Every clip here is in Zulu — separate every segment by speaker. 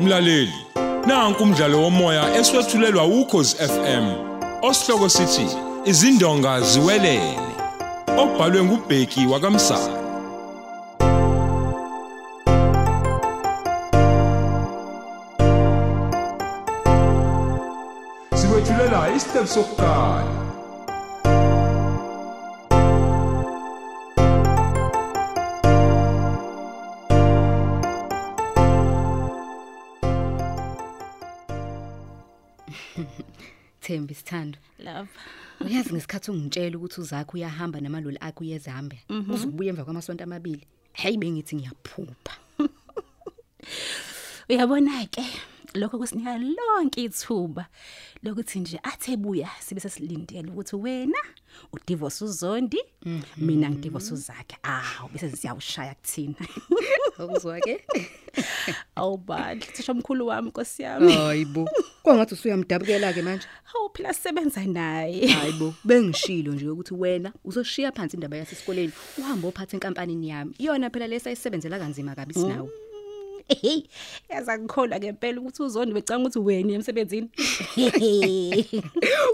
Speaker 1: Mlaleli, nanku umdlalo womoya eswetshulelwa ukhozi FM. Osihloko sithi izindonga ziwelele. Obhalwe ngubheki wakamsana. Siwethulela isitep sokuqala.
Speaker 2: Thembi sithando.
Speaker 3: love
Speaker 2: Uyazi ngesikhathi ungitshela ukuthi uzakho uyahamba namaloli akhe uye eZambia. Uzobuya emva kwamasonto amabili. Hayi bengithi ngiyaphupha.
Speaker 3: uyabona ke lokho kusinika lonke ithuba lokuthi nje athe buya sibe sesilindele ukuthi wena udivorce uzondi mina ngidivorce uzakhe awu bese siyawushaya kuthina
Speaker 2: Awuzwa ke?
Speaker 3: awubadli thisha omkhulu wami nkosi yami
Speaker 2: Hayibo. Kwangathi usuyamdabukela ke manje.
Speaker 3: awuphila sebenza naye
Speaker 2: Hayibo, bengishilo nje ukuthi wena uzoshiya phansi indaba yasesikoleni, uhambe ophatha enkampanini yami. Iyona phela lesayisebenzela kanzima kabi sinawe.
Speaker 3: hey yaza ngikholwa ngempela ukuthi uzondi becanga ukuthi wena emsebenzini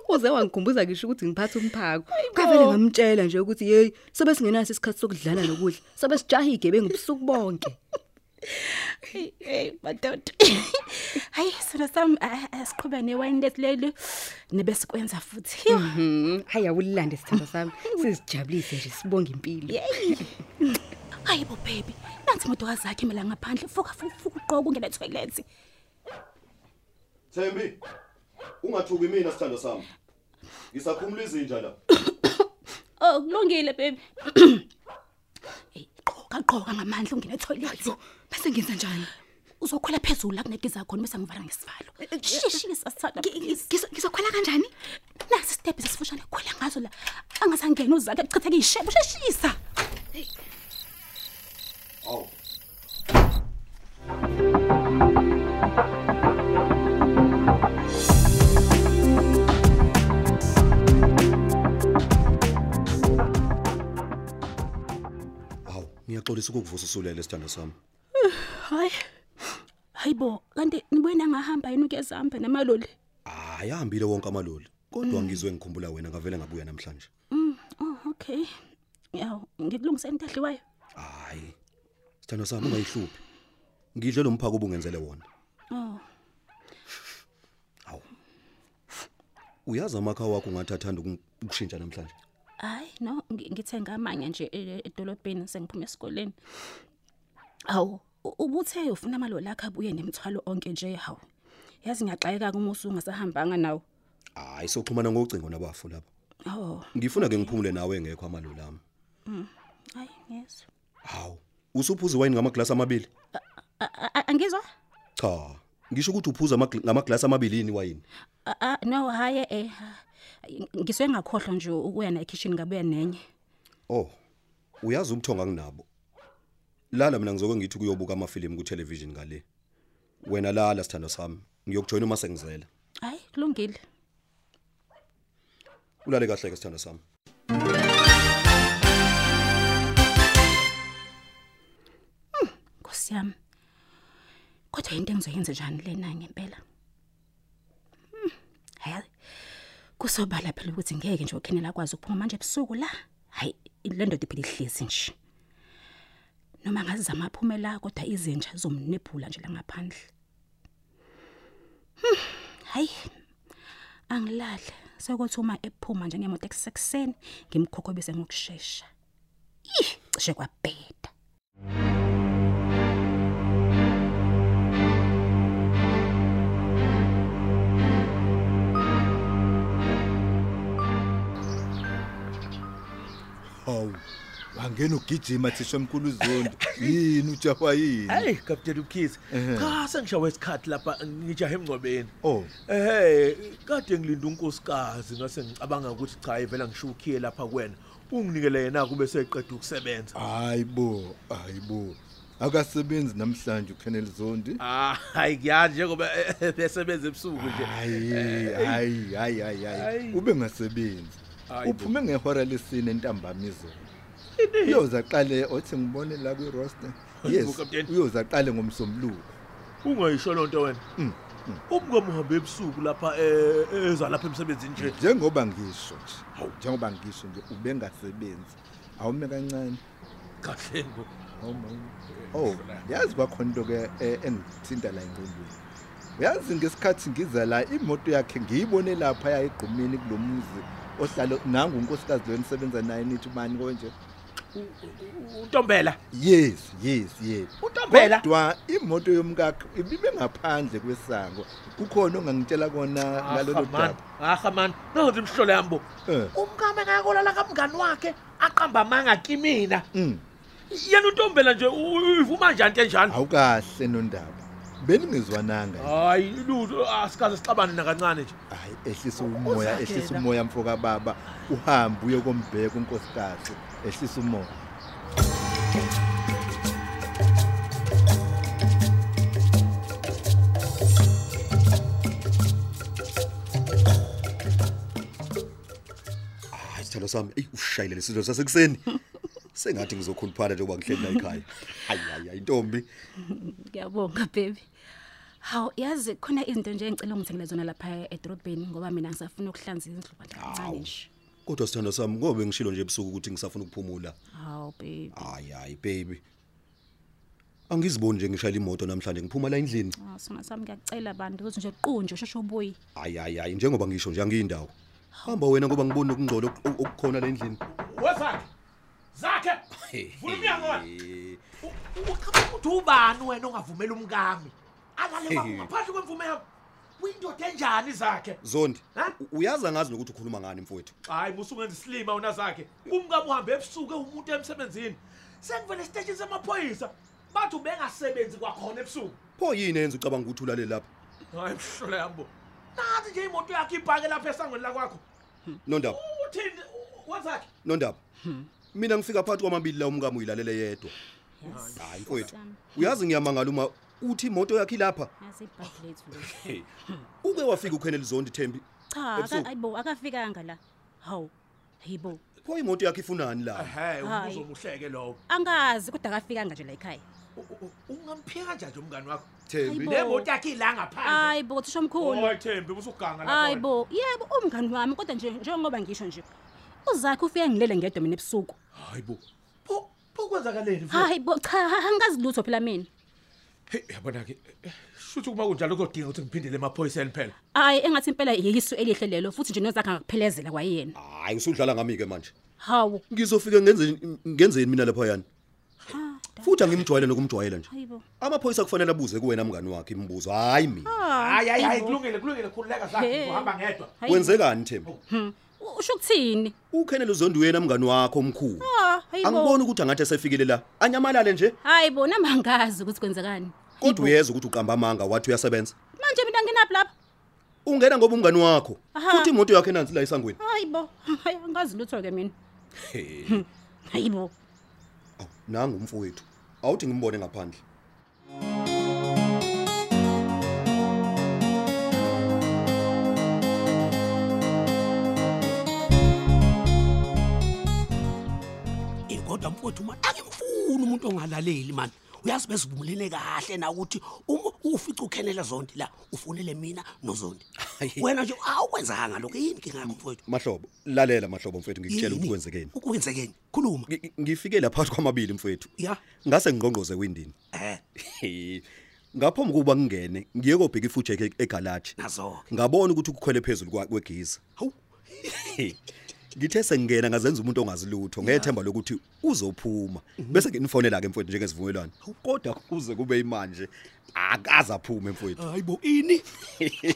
Speaker 2: Uze wangikhumbuza ngisho ukuthi ngiphatha umphako. Kavele ngamtshela nje ukuthi hey, sobe singenaso isikhathi sokudlala nokudla. Sobe sijaha igebengu ubusuku bonke.
Speaker 3: Hey, hey madoda hayi sona sam asiqhubeka newine lethu leli nebesikwenza futhi Hiyo,
Speaker 2: Mhm. Hayi awulilande sithando sami. Sizijabulise nje sibonge impilo.
Speaker 3: yeyi hayi bo baby nansi imoto wazakhe imela ngaphandle fuka fuka fuka uqoka ungena etoilet
Speaker 4: Thembi, ungathuki mina sithando sami. Ngisakhumula izinja la.
Speaker 3: oh kulungile baby hey qoka qoka ngamandla ungena etoilet
Speaker 2: Bese ngenza njani?
Speaker 3: uzokhwela phezulu la kunetiza khona bese ngivala ngesivalo
Speaker 2: Eh,
Speaker 3: shishisa sithanda please
Speaker 2: Ngizokhwela kanjani?
Speaker 3: nasi step sesifushane khwela ngazo la angazangena uzakhe achitheke ishebo shishisa
Speaker 4: Awu. Awu, ngiyaxolisa ukukuvusa usulele sithando sami.
Speaker 3: hayi hayibo kanti nibuyena ngahamba yini ukuyezihamba namaloli
Speaker 4: Hayi, ahambile wonke amaloli. Kodwa ngizwe ngikhumbula wena ngavele ngabuya namhlanje.
Speaker 3: oh okay yaw ngikulungise intahliwayo
Speaker 4: Hayi. Sithando sami ungayihluphi. Ngidle lo mphako ubungenzele wona.
Speaker 3: oh
Speaker 4: Hawu. Uyazi amakha wakho ungathathanda ukushintsha namhlanje.
Speaker 3: hayi no ngi- ngithenga amanye nje e- edolobheni sengiphuma esikoleni hawu u- ubuthe ufuna amaloli akhe abuye nemithwalo onke nje hawu yazi ngiyaxayeka-ke uma usungasahambanga nawo
Speaker 4: Hayi, soxhumana ngocingo nabafu lapha.
Speaker 3: oh
Speaker 4: Ngifuna ke ngiphumule nawe engekho amaloli ami.
Speaker 3: hayi ngiyezwa
Speaker 4: Hawu. Usuphuza iwine ngamaglasi amabili?
Speaker 3: A- a- a- angizwa
Speaker 4: Cha. Ngisho ukuthi uphuza amagl- ngamaglasi amabili yini iwine?
Speaker 3: A- a- no hhayi e ngisuke ngakhohlwa nje ukuya na ekhishini ngabuya nenye
Speaker 4: Oh. Uyazi ubuthongo anginabo. Lala mina ngizokwe ngithi kuyobuka amafilimu ku television ngale. Wena lala sithando sami. Ngiyokujoina uma sengizela.
Speaker 3: hayi kulungile
Speaker 4: Ulale kahle ke sithando sami.
Speaker 3: Nkosi yami. Kodwa into engizoyenza njani lena ngempela? Hmm, Hayi. Kusobala phela ukuthi ngeke nje ukhenela kwazi ukuphuma manje ebusuku la. Hayi, le ndoda iphela ihlezi nje. Noma ngazizama aphumela kodwa izinja zomnebhula nje la ngaphandle. Hmm, Hayi. Angilale. Sokuthi uma ephuma nje ngemoto ekusekuseni ngimkhokhobise ngokusheshsha. Ih, cishe kwabheda.
Speaker 5: Hawu. Wangena ugijima thisha mkulu Zondi. Yini ujawa yini?
Speaker 6: Hey Captain Ukhize cha sengishawe isikhathi lapha ngijahe emgcwebeni
Speaker 5: Oh.
Speaker 6: ehe kade ngilinda unkosikazi ngase ngicabanga ukuthi cha ivela ngisho ukhiye lapha kwena unginikele yena kube seqeda ukusebenza
Speaker 5: Hayibo, hayibo. Akasebenzi namhlanje uKennel Zondi.
Speaker 6: ah hayi ngiyazi njengoba eh, besebenza ebusuku nje
Speaker 5: Hayi, hayi, hayi, hayi, hayi.
Speaker 6: Hayi.
Speaker 5: Ube ngasebenzi.
Speaker 6: Hayi bo.
Speaker 5: Uphume ngehora lesine entambamizo. Uyozaqale othi ngibone la kwi roster.
Speaker 6: Hayi bo,
Speaker 5: Yes.
Speaker 6: Captain.
Speaker 5: Uyozaqale ngomsombuluko.
Speaker 6: ungayisho loo nto wena umngoma uhambe ebusuku lapha eh, eza lapha emsebenzini nje
Speaker 5: njengoba ngisho nje hawu njengoba ngisho nje ubengasebenzi awume kancane
Speaker 6: kahleni bo
Speaker 5: hawu mama oh yazi kwakhona into ke eh, engithinta la engqondweni uyazi ngesikhathi ngiza la imoto yakhe ngiyibone lapha yayigqumini kulomuzi ohlala nangu unkosikazi lo enisebenza naye nithi mani konje
Speaker 6: untombela
Speaker 5: yes yes yes
Speaker 6: Utombela?
Speaker 5: kodwa imoto yomkakhe ibibe ngaphandle kwesango kukhona ongangitshela kona
Speaker 6: Ah,
Speaker 5: ngalolo daba
Speaker 6: aha mani nanzi imhlolo yami bo
Speaker 5: Eh.
Speaker 6: umkami engakolala kamngani wakhe aqamba amanga kimina
Speaker 5: Mm.
Speaker 6: yena untombela nje u- uyivuma njani into enjalo
Speaker 5: awukahle nondaba beningizwananga nje.
Speaker 6: hayi lutho asikaze sixabane nakancane nje
Speaker 5: hayi ehlisa umoya ehlisa
Speaker 2: Uzakela.
Speaker 5: umoya mfoka baba uhambe uye kombheka unkosikazi ehlisa umoya
Speaker 4: hayi sithando sami eyi ushayile lesidlo sasekuseni sengathi ngizokhuluphala njengoba ngihleli la ekhaya hayi hayi hayi ntombi
Speaker 3: ngiyabonga baby hawu yazi khona izinto nje engicela ungithengele zona lapha edrobheni ngoba mina ngisafuna ukuhlanza indlu kancane nje
Speaker 4: kodwa sithando sami ngoba ngishilo nje ebusuku ukuthi ngisafuna ukuphumula
Speaker 3: hawu baby
Speaker 4: hayi hayi baby angiziboni nje ngishayela imoto namhlanje ngiphuma la endlini
Speaker 3: Ah, sona sami ngiyacela bantu ukuthi nje qunje usheshe ubuye
Speaker 4: hayi hayi hayi njengoba ngisho nje angiyindawo hamba wena ngoba ngiboni nokungcola oku- oku- okukhona la endlini
Speaker 6: wezakhe zakhe vula umnyango uqaba ukuthi ubani wena ongavumela umkami alale
Speaker 4: Hey.
Speaker 6: ngaphandle kwemvume yakho uyindoda enjani zakhe
Speaker 4: zondi
Speaker 6: Ha?
Speaker 4: u- uyazi angazi nokuthi ukhuluma ngani mfowethu
Speaker 6: hayi musungenza isilima wona zakhe umkami uhambe ebusuku ewumuntu emsebenzini sengivele esiteshini samaphoyisa bathi ubengasebenzi kwakhona ebusuku
Speaker 4: pho yini eyenza ucabanga ukuthi ulale lapha
Speaker 6: hayi mhlola yambo nathi nje imoto yakhe ibhake lapha esangweni lakwakho
Speaker 4: nondaba
Speaker 6: uthini wezakhe
Speaker 4: nondaba mina ngifika phakathi kwamabili la umkami uyilalele yedwa hayi mfowethu
Speaker 3: Sami.
Speaker 4: uyazi ngiyamangala uma uthi imoto yakhe ilapha
Speaker 3: yazi ibhadi lethu lo
Speaker 4: uke wafika ukhenela izondi thembi
Speaker 3: cha
Speaker 4: Ebusuku.
Speaker 3: aka- ayibo akafikanga la hawu hayibo
Speaker 4: pho imoto yakhe ifunani la
Speaker 6: ehe
Speaker 3: Hayi.
Speaker 6: umbuzo omuhleke lowo
Speaker 3: angazi kodwa akafikanga nje la ekhaya
Speaker 6: ungamphika njani umngani wakho
Speaker 4: thembi
Speaker 3: Hayibo.
Speaker 6: le moto yakhe Oh ila ngaphandle
Speaker 3: hayi bo thisha omkhulu
Speaker 6: oyithembi busuganga
Speaker 3: hayi bo yebo umngani wami kodwa nje njengoba ngisho nje uzakhe ufike ngilele ngedwa mina ebusuku
Speaker 6: hayi bo pho pho kwenzakaleni mfowethu?
Speaker 3: hayi bo cha angazi lutho phela mina
Speaker 6: Hey, yabona ke shuthi kuma kunjalo kodinga ukuthi ngiphindele emaphoyiseni phela
Speaker 3: hayi engathi impela yisu elihle lelo futhi nje nozakhe angakuphelezela kwayena
Speaker 4: hayi usudlala ngami-ke manje
Speaker 3: hawu
Speaker 4: ngizofika ngenzeni ngenzeni mina laphayana futhi angimjwayele nokumjwayela nje
Speaker 3: hayi bo
Speaker 4: amaphoyisa kufanele abuze kuwena mngani wakhe imibuzo hayi mina
Speaker 6: hayi hayi hayi
Speaker 3: bo.
Speaker 6: kulungile kulungile khululeka zakhe
Speaker 3: Hey.
Speaker 6: uhamba ngedwa
Speaker 3: Hayi bo.
Speaker 4: kwenzekani thembi
Speaker 3: U- usho ukuthini
Speaker 4: ukhenele uzonduyena mngani wakho omkhulu
Speaker 3: Ah, hayi bo
Speaker 4: angiboni ukuthi angathi esefikile la anyamalale nje
Speaker 3: hayi bo nami angazi ukuthi kwenzekani
Speaker 4: kodwa uyeza ukuthi uqamba amanga wathi uyasebenza
Speaker 3: manje mina nginaphi lapha
Speaker 4: ungena ngoba umngani wakho
Speaker 3: Aha.
Speaker 4: futhi imoto yakhe nansi la isangweni
Speaker 3: hayi bo hayi angazi lutho ke mina hayi bo
Speaker 4: Awu, nangu umfowethu awuthi ngimbone ngaphandle
Speaker 7: kodwa mfowethu mani akimfuni umuntu ongalaleli mani uyazi besivumelene kahle na ukuthi uma ufica ukhenela zondi la ufunele mina nozondi wena nje awukwenzanga lokho yini inkinga yakho mfowethu
Speaker 4: mahlobo lalela mahlobo mfowethu ngikutshela
Speaker 7: Yini?
Speaker 4: ukuthi kwenzekeni
Speaker 7: ukwenzekeni khuluma
Speaker 4: Ngi- ngi- ngifike lapha phakathi kwamabili mfowethu
Speaker 7: ya
Speaker 4: ngase ngqongqoze windini
Speaker 7: eh
Speaker 4: He. ngaphambi kokuba ngingene ngiye kobheka ifujeke e-, egalaji
Speaker 7: nazo-ke
Speaker 4: ngabona ukuthi kukhwele phezulu kwa- kwegiza
Speaker 7: hawu
Speaker 4: He. ngithe sengingena ngazenza umuntu ongazilutho ngethemba lokuthi uzophuma bese nginifonela-ke mfowethu njengesivumelwano kodwa kuze kube imanje akaze aphume mfowethu
Speaker 7: hayi bo ini Eh,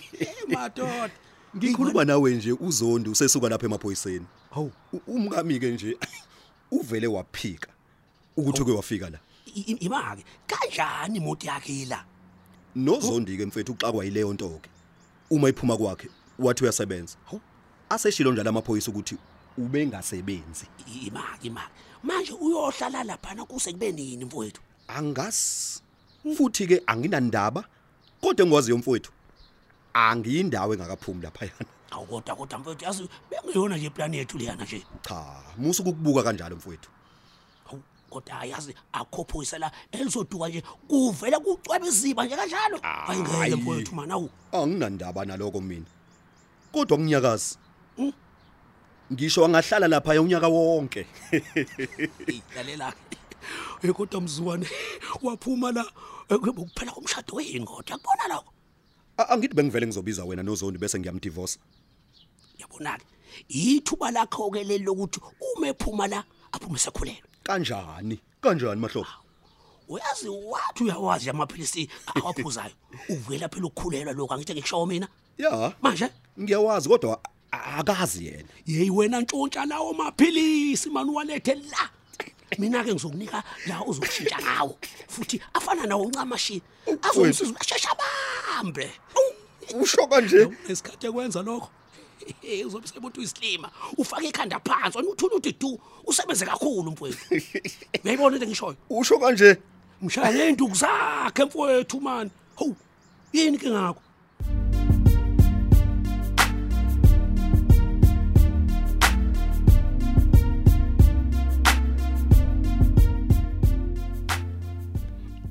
Speaker 7: madoda
Speaker 4: ngikhuluma nawe nje uzondi usesuka lapha emaphoyiseni
Speaker 7: hawu
Speaker 4: U- umkami-ke nje uvele waphika ukuthi uke wafika la
Speaker 7: i- i- ima-ke kanjani imoto yakhe la
Speaker 4: nozondi-ke mfethu uxakwa yileyo nto-ke uma iphuma kwakhe wathi uyasebenza
Speaker 7: Hawu.
Speaker 4: aseshilo njalo amaphoyisa ukuthi ubengasebenzi
Speaker 7: I- ima-ke ima-ke manje uyohlala laphana kuse kube nini mfowethu
Speaker 4: angasi futhi-ke anginandaba kodwa engikwaziyo mfowethu angiyindawo engakaphumi laphayana
Speaker 7: awu kodwa kodwa mfowethu yazi bengiyona nje iplani yethu leyana nje
Speaker 4: cha musuke ukubuka kanjalo mfowethu
Speaker 7: Hawu, kodwa hayi yazi akho phoyisa la elizoduka nje kuvele kucwebe iziba nje kanjalo hayi ngeke
Speaker 4: Hayi.
Speaker 7: mfowethu mana awu
Speaker 4: anginandaba naloko mina kodwa nginyakazi ngisho angahlala lapha unyaka wonke
Speaker 7: Eyi, lalela Eh, kodwa mzukwane waphuma la eh, kuphela komshado weyini kodwa yakubona lokho
Speaker 4: A- angithi bengivele ngizobiza wena nozondi bese ngiyamdivorce
Speaker 7: yabonake yithuba lakho ke leli lokuthi uma ephuma la aphume sekhulelwe
Speaker 4: kanjani kanjani mahlobo
Speaker 7: uyazi wathi uyawazi amaphilisi awaphuzayo uvela phela ukukhulelwa lokhu angithe ngikushawo mina
Speaker 4: ya
Speaker 7: manje
Speaker 4: ngiyawazi kodwa a- akazi yena
Speaker 7: yeyi wena ntshontsha lawo maphilisi mani uwalethe la mina-ke ngizokunika la uzokushintsha ngawo futhi afana nawo ncamashi azomsiza asheshe abambe
Speaker 4: usho kanje
Speaker 7: esikhathi ekwenza lokho eh, uzobe semuntu uyisilima ufake ikhanda phansi wena uthule uthi du usebenze kakhulu mfowethu uyayibona into engishoyo
Speaker 4: usho kanje
Speaker 7: mshaya ngey'nduku zakhe mfowethu mani howu yini ke ngakho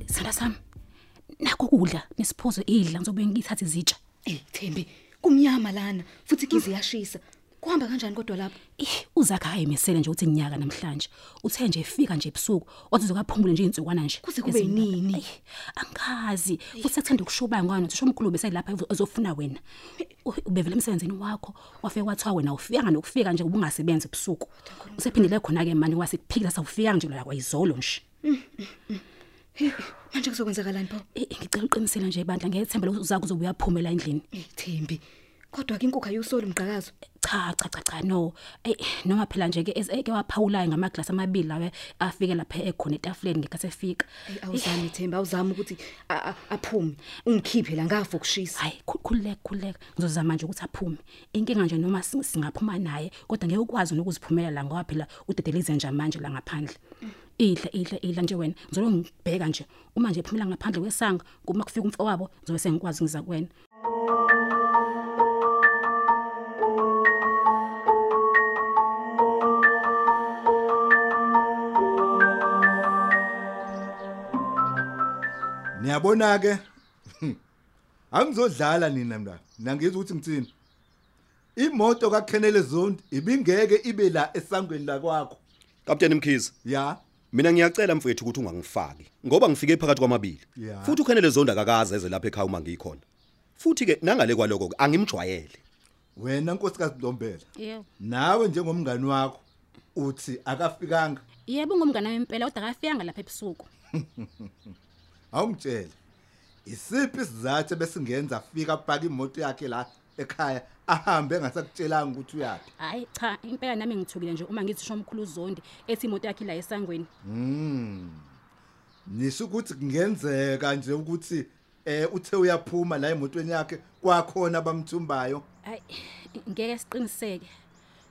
Speaker 3: sithanda sami nakho kudla nesiphozo idla ngizobuye ngithathe izitsha
Speaker 2: Eh Thembi, kumnyama lana futhi igizi yashisa. Kuhamba kanjani kodwa lapho?
Speaker 3: Eh, uzakhe ayimisele nje ukuthi nginyaka namhlanje uthe nje efika nje ebusuku wathi uzokaphumule nje insukwana nje
Speaker 2: Kuze kube
Speaker 3: Ezimbalwa.
Speaker 2: yinini?
Speaker 3: Eyi, angazi futhi sekuthanda ukushubayo ngoba nothi shomkhulu beselapha ezofuna wena U- ubevele emsebenzini wakho wafike kwathiwa wena awufikanga nokufika nje ubungasebenzi ebusuku usephindele khona-ke mani wasekuphikile sawufikanga nje la kwayizolo nje
Speaker 2: Manje kuzokwenzakalani pho?
Speaker 3: Eh, eh, ngicela uqinisele nje bandla ngethemba lokuthi uzakho uzobe uyaphumela endlini
Speaker 2: Eh Thembi, kodwa ke inkukhu ayusoli umqhakazo.
Speaker 3: cha cha cha cha no Eh, noma phela nje ke eke waphawulayo ngamaglasi amabili lawe afike lapha ekhona etafuleni ngekhathi efika
Speaker 2: Eh, Awuzami Thembi, awuzami ukuthi a- a- aphume. Ungikhiphe la ngafa ukushisa.
Speaker 3: hayi khul- khululeka khululeka ngizozama nje ukuthi aphume inkinga nje noma sing- singaphuma naye kodwa ngeke ukwazi nokuziphumela la ngoba phela udedelize nje manje la ngaphandle idla idla idla nje wena ngizolo ngibheka nje uma nje ephumela ngaphandle kwesanga kuma kufika umfo wabo ngizobe sengikwazi ngiza kuwena
Speaker 5: Niyabona ke Hmm. angizodlala nina mla. Nangizwe ukuthi ngitsini. Imoto kaKhenele Zondi ibingeke ibe la esangweni la kwakho.
Speaker 4: kapteni mkhize
Speaker 5: Ya.
Speaker 4: mina ngiyacela mfowethu ukuthi ungangifaki ngoba ngifike phakathi kwamabili
Speaker 5: Ya.
Speaker 4: futhi ukhenele zonda kakaze eze lapha ekhaya uma ngikhona futhi ke nangale kwaloko ke angimjwayele
Speaker 5: Wena nkosikazi Ntombela.
Speaker 3: yebo
Speaker 5: Nawe njengomngani wakho uthi akafikanga.
Speaker 3: yebo ngomngane wempela kodwa akafiyanga lapha ebusuku
Speaker 5: Awungitshele. Isiphi isizathu besingenza afika paka imoto yakhe la ekhaya ahambe engasakutshelanga ukuthi uyaphi?
Speaker 3: hayi cha impela nami ngithukile nje uma ngithi shomkhulu uzondi ethi imoto yakhe la esangweni
Speaker 5: Nisho ukuthi kungenzeka nje ukuthi eh uthe uyaphuma la emotweni yakhe kwakhona abamthumbayo.
Speaker 3: hayi ngeke siqiniseke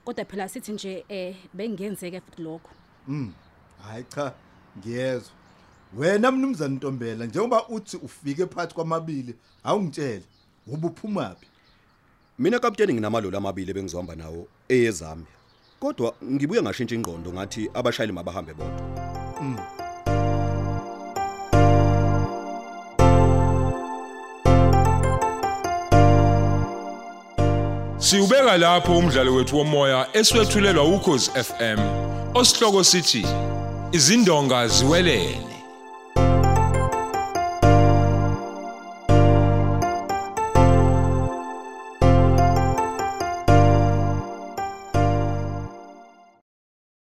Speaker 3: kodwa phela sithi nje eh bengenzeke futhi lokho
Speaker 5: Mm. Hayi cha, ngiyezwa. Wena mnumzane Ntombela njengoba uthi ufike phakathi kwamabili, awungitshele, ubuphuma phi?
Speaker 4: mina kapteni nginamaloli amabili bengizohamba nawo eyezambia kodwa ngibuye ngashintsha ingqondo ngathi abashayeli mabahambe bodwa
Speaker 1: Siubeka lapho umdlalo wethu womoya eswetshulelwa ukhozi FM. Osihloko sithi izindonga ziwelele.